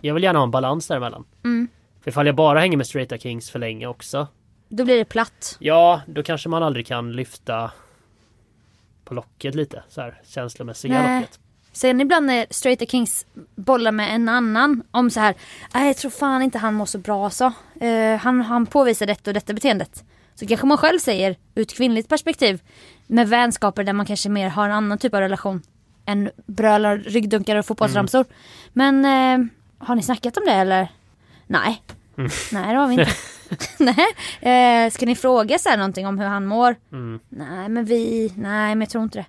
jag vill gärna ha en balans däremellan. Mm. För ifall jag bara hänger med straighta kings för länge också. Då blir det platt. Ja, då kanske man aldrig kan lyfta på locket lite så här känslomässiga Nej. locket. Sen ibland när straighta kings bollar med en annan om så här. "Nej, Jag tror fan inte han mår så bra så. Eh, han, han påvisar detta och detta beteendet. Så kanske man själv säger ur ett kvinnligt perspektiv. Med vänskaper där man kanske mer har en annan typ av relation. Än brölar, ryggdunkar och fotbollsramsor. Men eh, har ni snackat om det eller? Nej. Mm. Nej det har vi inte. nej. Eh, ska ni fråga så här någonting om hur han mår? Mm. Nej men vi, nej men jag tror inte det.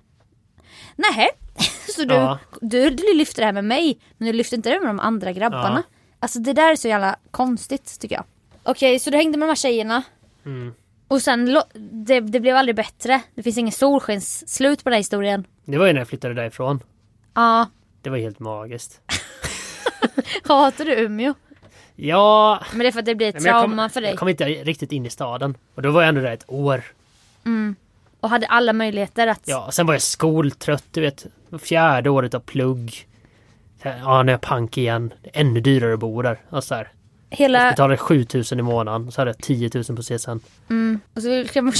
Nej. Så du, Ja. du, du lyfter det här med mig men du lyfter inte det med de andra grabbarna. Alltså det där är så jävla konstigt tycker jag. Okej så du hängde med de här tjejerna. Mm. Och sen lo- det, det blev aldrig bättre. Det finns ingen solskens slut på den här historien. Det var ju när jag flyttade därifrån. Ja, Det var helt magiskt. hatar du Umeå? Ja, Men det är för att det blir ett men jag trauma kom, för dig. jag kom inte riktigt in i staden. Och då var jag ändå där ett år. Och hade alla möjligheter att... Ja, och sen var jag skoltrött, du vet. Fjärde året av plugg. Sen, Ja, nu är jag pank igen. Det är ännu dyrare att bo där. Alltså, där. Jag Hela... betalade 7000 i månaden och så hade jag 10 000 på CSN. Och så vill man,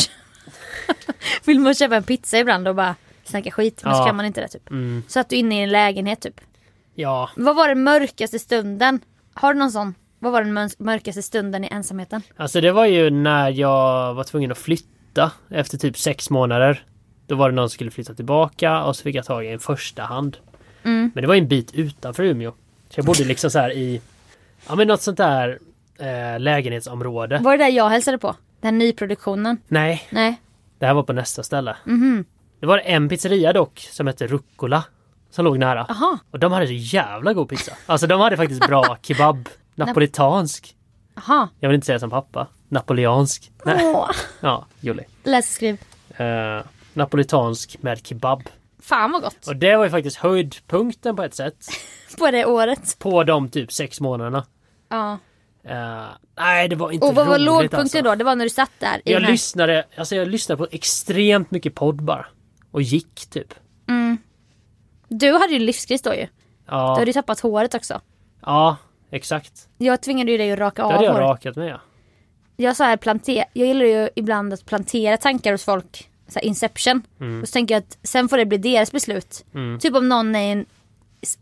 vill man köpa en pizza ibland och bara snacka skit. Men så Ja. kan man inte det typ. Så att du är inne i en lägenhet typ. Mm. Ja, Vad var den mörkaste stunden? Har du någon sån? Vad var den mön- mörkaste stunden i ensamheten? alltså det var ju när jag var tvungen att flytta efter typ sex månader. Då var det någon som skulle flytta tillbaka och så fick jag tag i en första hand. Men det var ju en bit utanför Umeå. Så jag bodde liksom så här i, ja men något sånt där eh, lägenhetsområde. Var det där jag hälsade på? Den nyproduktionen? Nej, Nej. Det här var på nästa ställe. Mhm. Det var en pizzeria dock som hette Rucola som låg nära. Aha. Och de hade så jävla god pizza. Alltså de hade faktiskt bra kebab. Napolitansk. Aha. Jag vill inte säga som pappa. Napoleansk. Nej. Åh. Ja, Julie. Läs och skriv. Eh, napolitansk med kebab. Fan vad gott. Och det var ju faktiskt höjdpunkten på ett sätt. På det året. På de typ sex månaderna. Ja. Eh, nej, det var inte Och vad var roligt lågpunkten alltså. då? Det var när du satt där i Jag den här... lyssnade, alltså jag lyssnade på extremt mycket podd bara. Och gick typ. Du hade ju en livskris då ju. Du Ja, hade ju tappat håret också. ja exakt. Jag tvingade ju dig att raka Då av hade jag håret. rakat mig ja. Jag, så här plante- jag gillar ju ibland att plantera tankar hos folk. Så här inception. Mm. Och så tänker jag att sen får det bli deras beslut. Typ om någon är en... s-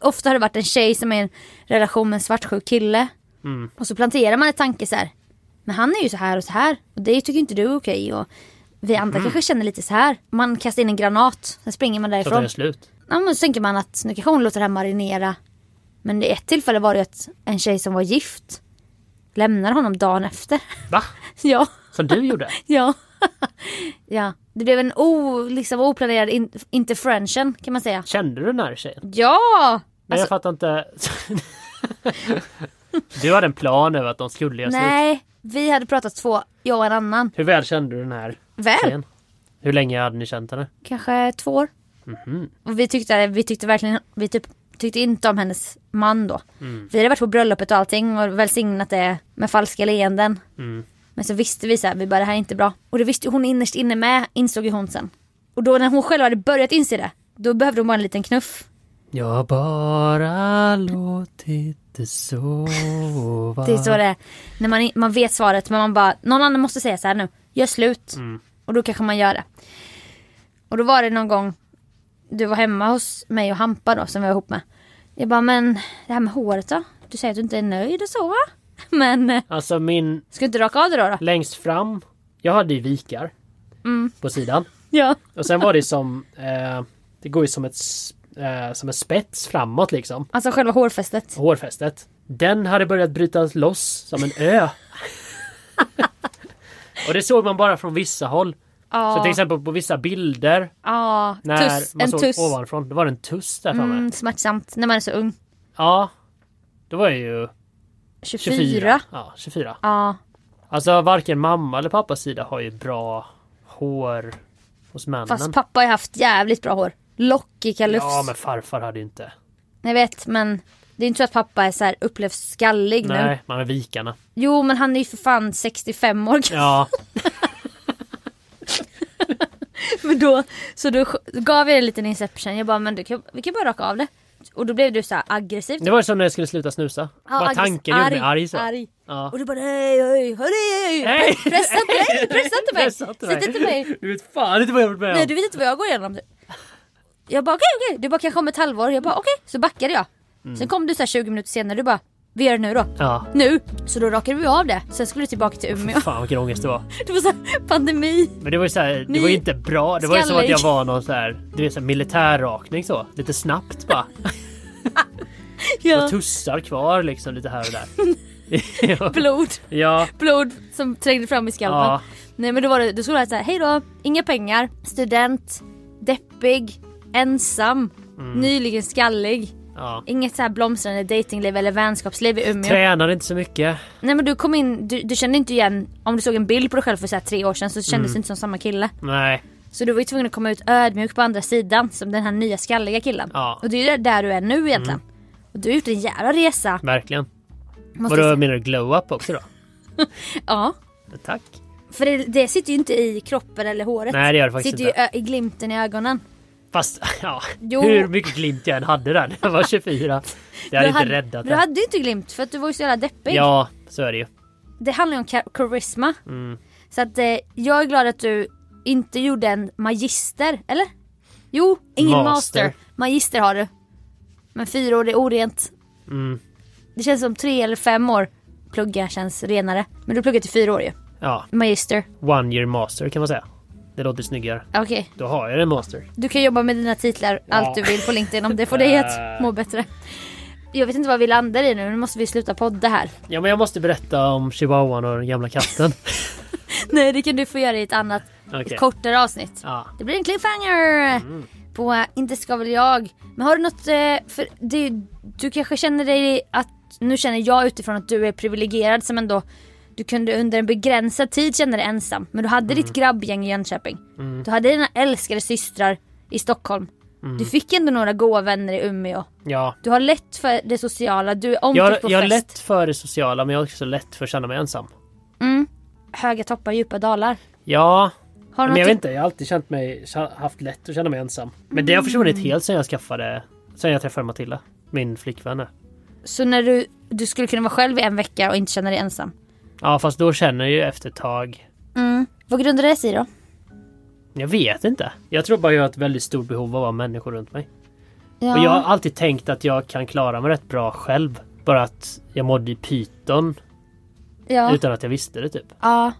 Ofta har det varit en tjej som är i en relation med en svartsjuk kille. Mm. Och så planterar man en tanke så här. Men han är ju så här och så här. Och det tycker inte du är okej. Och vi andra kanske känner lite så här. Man kastar in en granat. Sen springer man Mm. Så att den därifrån. är slut. Ja, men så tänker man att nu kanske hon låter det här marinera. Men i ett tillfälle var det ju att en tjej som var gift lämnade honom dagen efter. Va? ja, Som du gjorde? ja. ja, det blev en o, liksom, oplanerad in, interferention kan man säga. Kände du den här tjejen? Ja! Nej jag fattar inte. du hade en plan över att de skulle göra slut. Nej, vi hade pratat två, jag och en annan. Hur väl kände du den här Väl, tjejen? Hur länge hade ni känt henne? kanske två år. Och vi tyckte, vi tyckte verkligen, vi typ, tyckte inte om hennes man då. Vi hade varit på bröllopet och allting och välsignat det med falska leenden. Men så visste vi så här, vi bara det här är inte bra. Och det visste ju hon innerst inne med, insåg ju hon sen. Och då när hon själv hade börjat inse det, då behövde hon bara en liten knuff. Jag har bara låtit det sova. Det är så det är. När man, man vet svaret men man bara, någon annan måste säga så här nu, gör slut. Mm. Och då kanske man gör det. Och då var det någon gång, du var hemma hos mig och Hampa då som vi var ihop med. Jag bara, men det här med håret då? Du säger att du inte är nöjd och så va? Men, eh, Alltså min ska du inte raka av det då? då? längst fram. Jag hade ju vikar. Mm. På sidan. Ja. Och sen var det som. Eh, det går ju som ett s- eh, som en spets framåt liksom. Alltså själva hårfästet. hårfästet. Den hade börjat brytas loss som en ö. och det såg man bara från vissa håll. Så till exempel på vissa bilder Ja, när tuss, man en såg tuss. ovanifrån, då var det en tuss där framme. Mm, smärtsamt när man är så ung. Ja, då var jag ju 24. 24. Ja, 24. Ja. Alltså varken mamma eller pappas sida har ju bra hår hos männen. Fast pappa har ju haft jävligt bra hår. Lockig kalufs. Mm. ja, men farfar hade ju inte. Jag vet men det är inte så att pappa är så här upplevs skallig nu. Nej, man är vikarna. Jo men han är ju för fan 65 år gammal. Ja, Men då, så då sk- gav jag en liten inception. Jag bara men du kan, vi kan bara raka av det. Och då blev du så här aggressiv. det var ju som när jag skulle sluta snusa. Ja, bara aggressiv. tanken gjorde mig arg så. arg. Ja. Och du bara hej hej hej Nej! hej. Pressa inte mig, pressa inte mig. Pressa inte mig. Sätt inte mig. Du vet fan inte vad jag har varit med om. Nej du vet inte vad jag går igenom. Jag bara okej okej. Du bara kanske om ett halvår. Jag bara okej. Så backade jag. Sen kom du så här 20 minuter senare. Du bara vi gör det nu då. Mm. Ja. Nu! Så då rakade vi av det. Sen skulle du tillbaka till Umeå. Fan vilken ångest det var. Det var så här, pandemi. Men det var ju så här, Ni- det var ju inte bra. Det var ju som att Skallig. jag var någon så här, du vet så här militärrakning så. Lite snabbt bara. Ja. Och tussar kvar liksom lite här och där. ja. Blod. ja. Blod som trängde fram i skalpen. Ja. Nej men då var det, då skulle det så här, hej då, inga pengar, student, deppig, ensam, Mm. nyligen skallig. ja. Inget så här blomstrande datingliv eller vänskapsliv i Umeå. Tränade inte så mycket. Nej men du kom in, du, du kände inte igen, om du såg en bild på dig själv för så här tre år sedan så Mm. kändes du inte som samma kille. Nej. Så du var ju tvungen att komma ut ödmjuk på andra sidan som den här nya skalliga killen. Ja. Mm. Och det är ju där- där du är nu egentligen. Och du har gjort en jävla resa. Verkligen. Måste Vadå jag menar du glow-up också då? säga. Ja. Tack. För det, det sitter ju inte i kroppen eller håret. Nej, det gör det faktiskt sitter ju ö- i glimten i ögonen. Fast ja, Jo. hur mycket glimt jag än hade där när jag var 24. Det hade Du inte hade- räddat Du den. hade ju inte glimt för att du var ju så jävla deppig. Ja, så är det ju. Det handlar ju om ka- karisma. Mm. Så att eh, jag är glad att du inte gjorde en magister, eller? Jo, ingen master. Master. Magister har du. Men fyra år det är orent. Mm. Det känns som tre eller fem år plugga känns renare. Men du pluggar till fyra år ju. Ja, Magister. one year master kan man säga. Det låter snyggare. Okej. Då har jag en master. Du kan jobba med dina titlar allt du vill på LinkedIn om det får dig att må bättre. Jag vet inte vad vi landar i nu, nu måste vi sluta podda här. Ja, men jag måste berätta om chihuahuan och den gamla katten. Nej det kan du få göra i ett annat, Okej. ett kortare avsnitt. Ja. Mm. Det blir en cliffhanger! På eh, Inte ska väl jag. Men har du något, eh, för det, är ju- du kanske känner dig att, nu känner jag utifrån att du är privilegierad som ändå, du kunde under en begränsad tid känna dig ensam. Men du hade Mm. ditt grabbgäng i Jönköping. Du hade dina älskade systrar i Stockholm. Mm. Du fick ändå några goa vänner i Umeå. Ja. Du har lätt för det sociala, du är omtyckt Jag, på jag har fest. lätt för det sociala men jag har också lätt för att känna mig ensam. Höga toppar, djupa dalar. Ja, Har du men jag något vet inte. Jag har alltid känt mig, haft lätt att känna mig ensam. Men det har Mm. försvunnit helt sen jag skaffade, sen jag träffade Matilda. Min flickvän här. Så när du, du skulle kunna vara själv i en vecka och inte känna dig ensam. Ja, fast då känner jag ju efter ett tag Vad grundar det sig i då? Jag vet inte. Jag tror bara jag har ett väldigt stort behov av att ha människor runt mig. Och jag har alltid tänkt att jag kan klara mig rätt bra själv. Bara att jag mådde i pyton ja. utan att jag visste det typ. ja.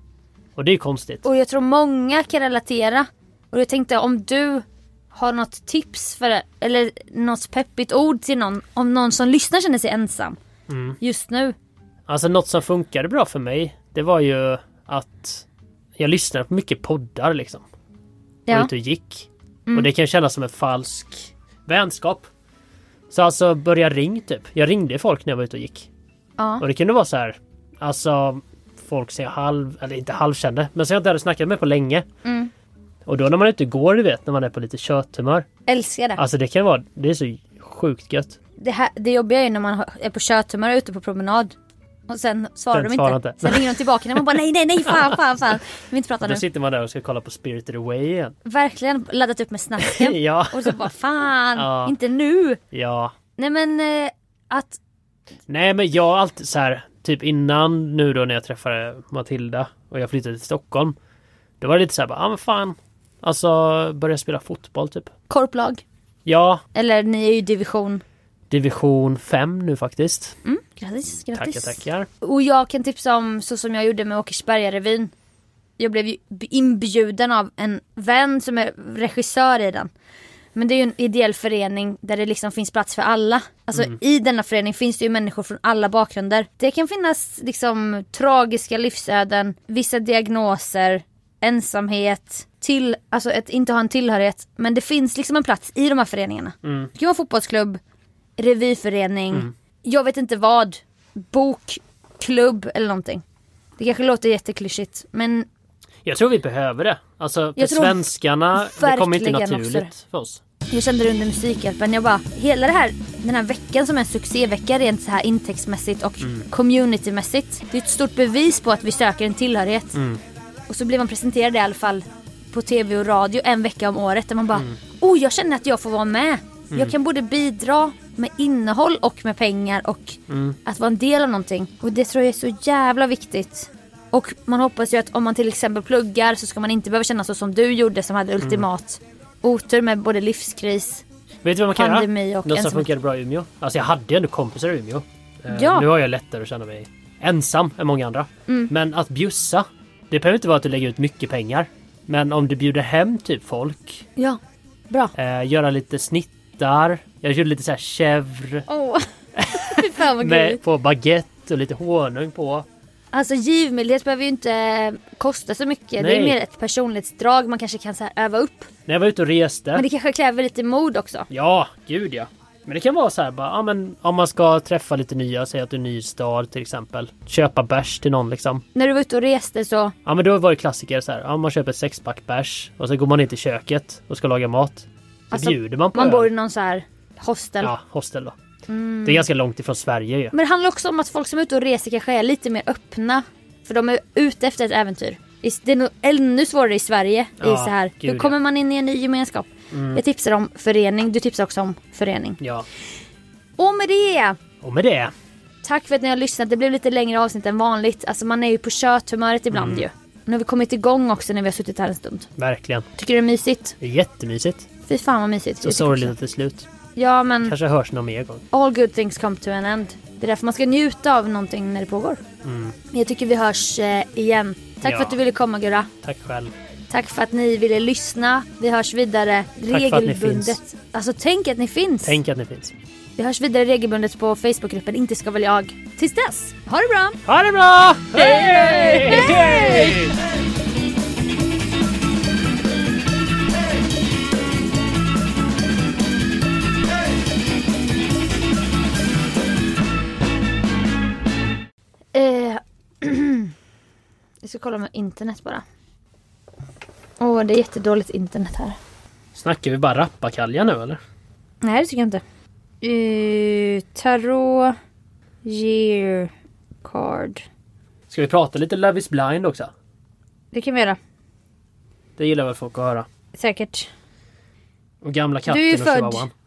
Och det är ju konstigt. Och jag tror många kan relatera. Och jag tänkte om du har något tips för eller något peppigt ord till någon om någon som lyssnar känner sig ensam Mm. just nu. Alltså något som funkade bra för mig, det var ju att jag lyssnade på mycket poddar liksom. Ja. Var Mm. ute och gick. Och det kan kännas som en falsk vänskap. Så alltså börja ring typ. Jag ringde folk när jag var ute och gick. Ja. Och det kunde vara så här, alltså folk som jag halv, eller inte halvkände, men som jag inte hade snackat med på länge. Mm. Och då när man är ute och går, du vet, när man är på lite kötthumör. Älskar det. Alltså det kan vara, det är så sjukt gött. det, här, det jobbiga är ju när man har- är på kötthumör och ute på promenad. Och sen svarar Den de svarar inte. inte. Sen ringer de tillbaka när man bara nej nej nej fan fan fan. Vi vill inte prata Då nu. sitter man där och ska kolla på Spirited Away igen. Verkligen laddat upp med snasken. Ja. Och så bara fan Ja. inte nu. Ja. Nej men eh, att Nej men jag har alltid så här, typ innan nu då när jag träffade Matilda och jag flyttade till Stockholm. Då var det lite så här, bara, ah, men fan. Alltså börja spela fotboll typ. korplag. Ja, Eller ni är ju i division. division 5 nu faktiskt. Mm, grattis, grattis. Tackar, tackar. Och jag kan tipsa om så som jag gjorde med Åkersbergarevyn. Jag blev ju inbjuden av en vän som är regissör i den. Men det är ju en ideell förening där det liksom finns plats för alla. Alltså i denna förening finns det ju människor från alla bakgrunder. Det kan finnas liksom tragiska livsöden, vissa diagnoser, ensamhet, till, alltså att inte ha en tillhörighet. Men det finns liksom en plats i de här föreningarna. Det kan vara fotbollsklubb, revyförening, jag vet inte vad, bok, klubb eller någonting. Det kanske låter jätteklyschigt men Jag tror vi behöver det. Alltså för Jag tror svenskarna, det kommer inte verkligen också naturligt för oss. Jag kände det under Musikhjälpen. Jag bara, hela det här, den här veckan som är en succévecka rent så här intäktsmässigt och communitymässigt. Det är ett stort bevis på att vi söker en tillhörighet. Och så blir man presenterad i alla fall på tv och radio en vecka om året där man bara, oh jag känner att jag får vara med. Jag kan både bidra med innehåll och med pengar och att vara en del av någonting. Och det tror jag är så jävla viktigt. Och man hoppas ju att om man till exempel pluggar så ska man inte behöva känna så som du gjorde som hade ultimat otur med både livskris. Vet du vad man kan Pandemi göra? och Något som ensamhet. funkade bra i Umeå. Alltså jag hade ju ändå kompisar i Umeå. Eh, Ja. Mm. Nu har jag lättare att känna mig ensam än många andra. Men att bjussa. Det behöver inte vara att du lägger ut mycket pengar. Men om du bjuder hem typ folk. Ja, bra. Eh, göra lite snittar. Jag gjorde lite så här chèvre Åh, fy fan vad med, gulligt. på baguette och lite honung på. Alltså givmildhet behöver ju inte eh, kosta så mycket. Det är Nej. mer ett personlighetsdrag man kanske kan så här, öva upp. När jag var ute och reste. Men det kanske kräver lite mod också. Ja, gud ja. Men det kan vara så här bara, ja, men om man ska träffa lite nya, säg att du är ny i stad till exempel. Köpa bärs till någon liksom. När du var ute och reste så, Ja men då var det klassiker så här, ja, man köper ett sexpack bärs och så går man in till köket och ska laga mat. Så Alltså, bjuder man på man öl. bor i någon så här hostel. Ja, hostel då. Det är ganska långt ifrån Sverige ju. Men det handlar också om att folk som är ute och reser kanske är lite mer öppna. För de är ute efter ett äventyr. I- Det är nog ännu svårare i Sverige. Ja, Mm. i så här. gud, Hur kommer man in i en ny gemenskap? Jag tipsar om förening. Du tipsar också om förening. Ja. Och med det! Och med det. Tack för att ni har lyssnat. Det blev lite längre avsnitt än vanligt. Alltså man är ju på kötthumöret ibland Mm. ju. Nu har vi kommit igång också när vi har suttit här en stund. Verkligen. Tycker du det är mysigt? Det är jättemysigt. Fy fan vad mysigt. Så sorgligt att det är slut. Ja men Kanske hörs någon mer gång. all good things come to an end. Det är därför man ska njuta av någonting när det pågår. Jag tycker vi hörs eh, igen. Tack Mm. Ja. för att du ville komma Gurra. Tack själv. Tack för att ni ville lyssna. Vi hörs vidare att ni regelbundet. finns. Alltså tänk att ni finns. Tänk att ni finns. Vi hörs vidare regelbundet på Facebookgruppen Inte ska väl jag. Tills dess, ha det bra! Ha det bra! Hej! Eh, jag ska kolla med internet bara. Åh, det är jättedåligt internet här. Snackar vi bara rappakalja nu eller? Nej, det tycker jag inte. Eh, tarot year card. Ska vi prata lite Love is blind också? Det kan vi göra. Det gillar väl folk att höra. Säkert. Och gamla katten Du är ju och född. chihuahuan.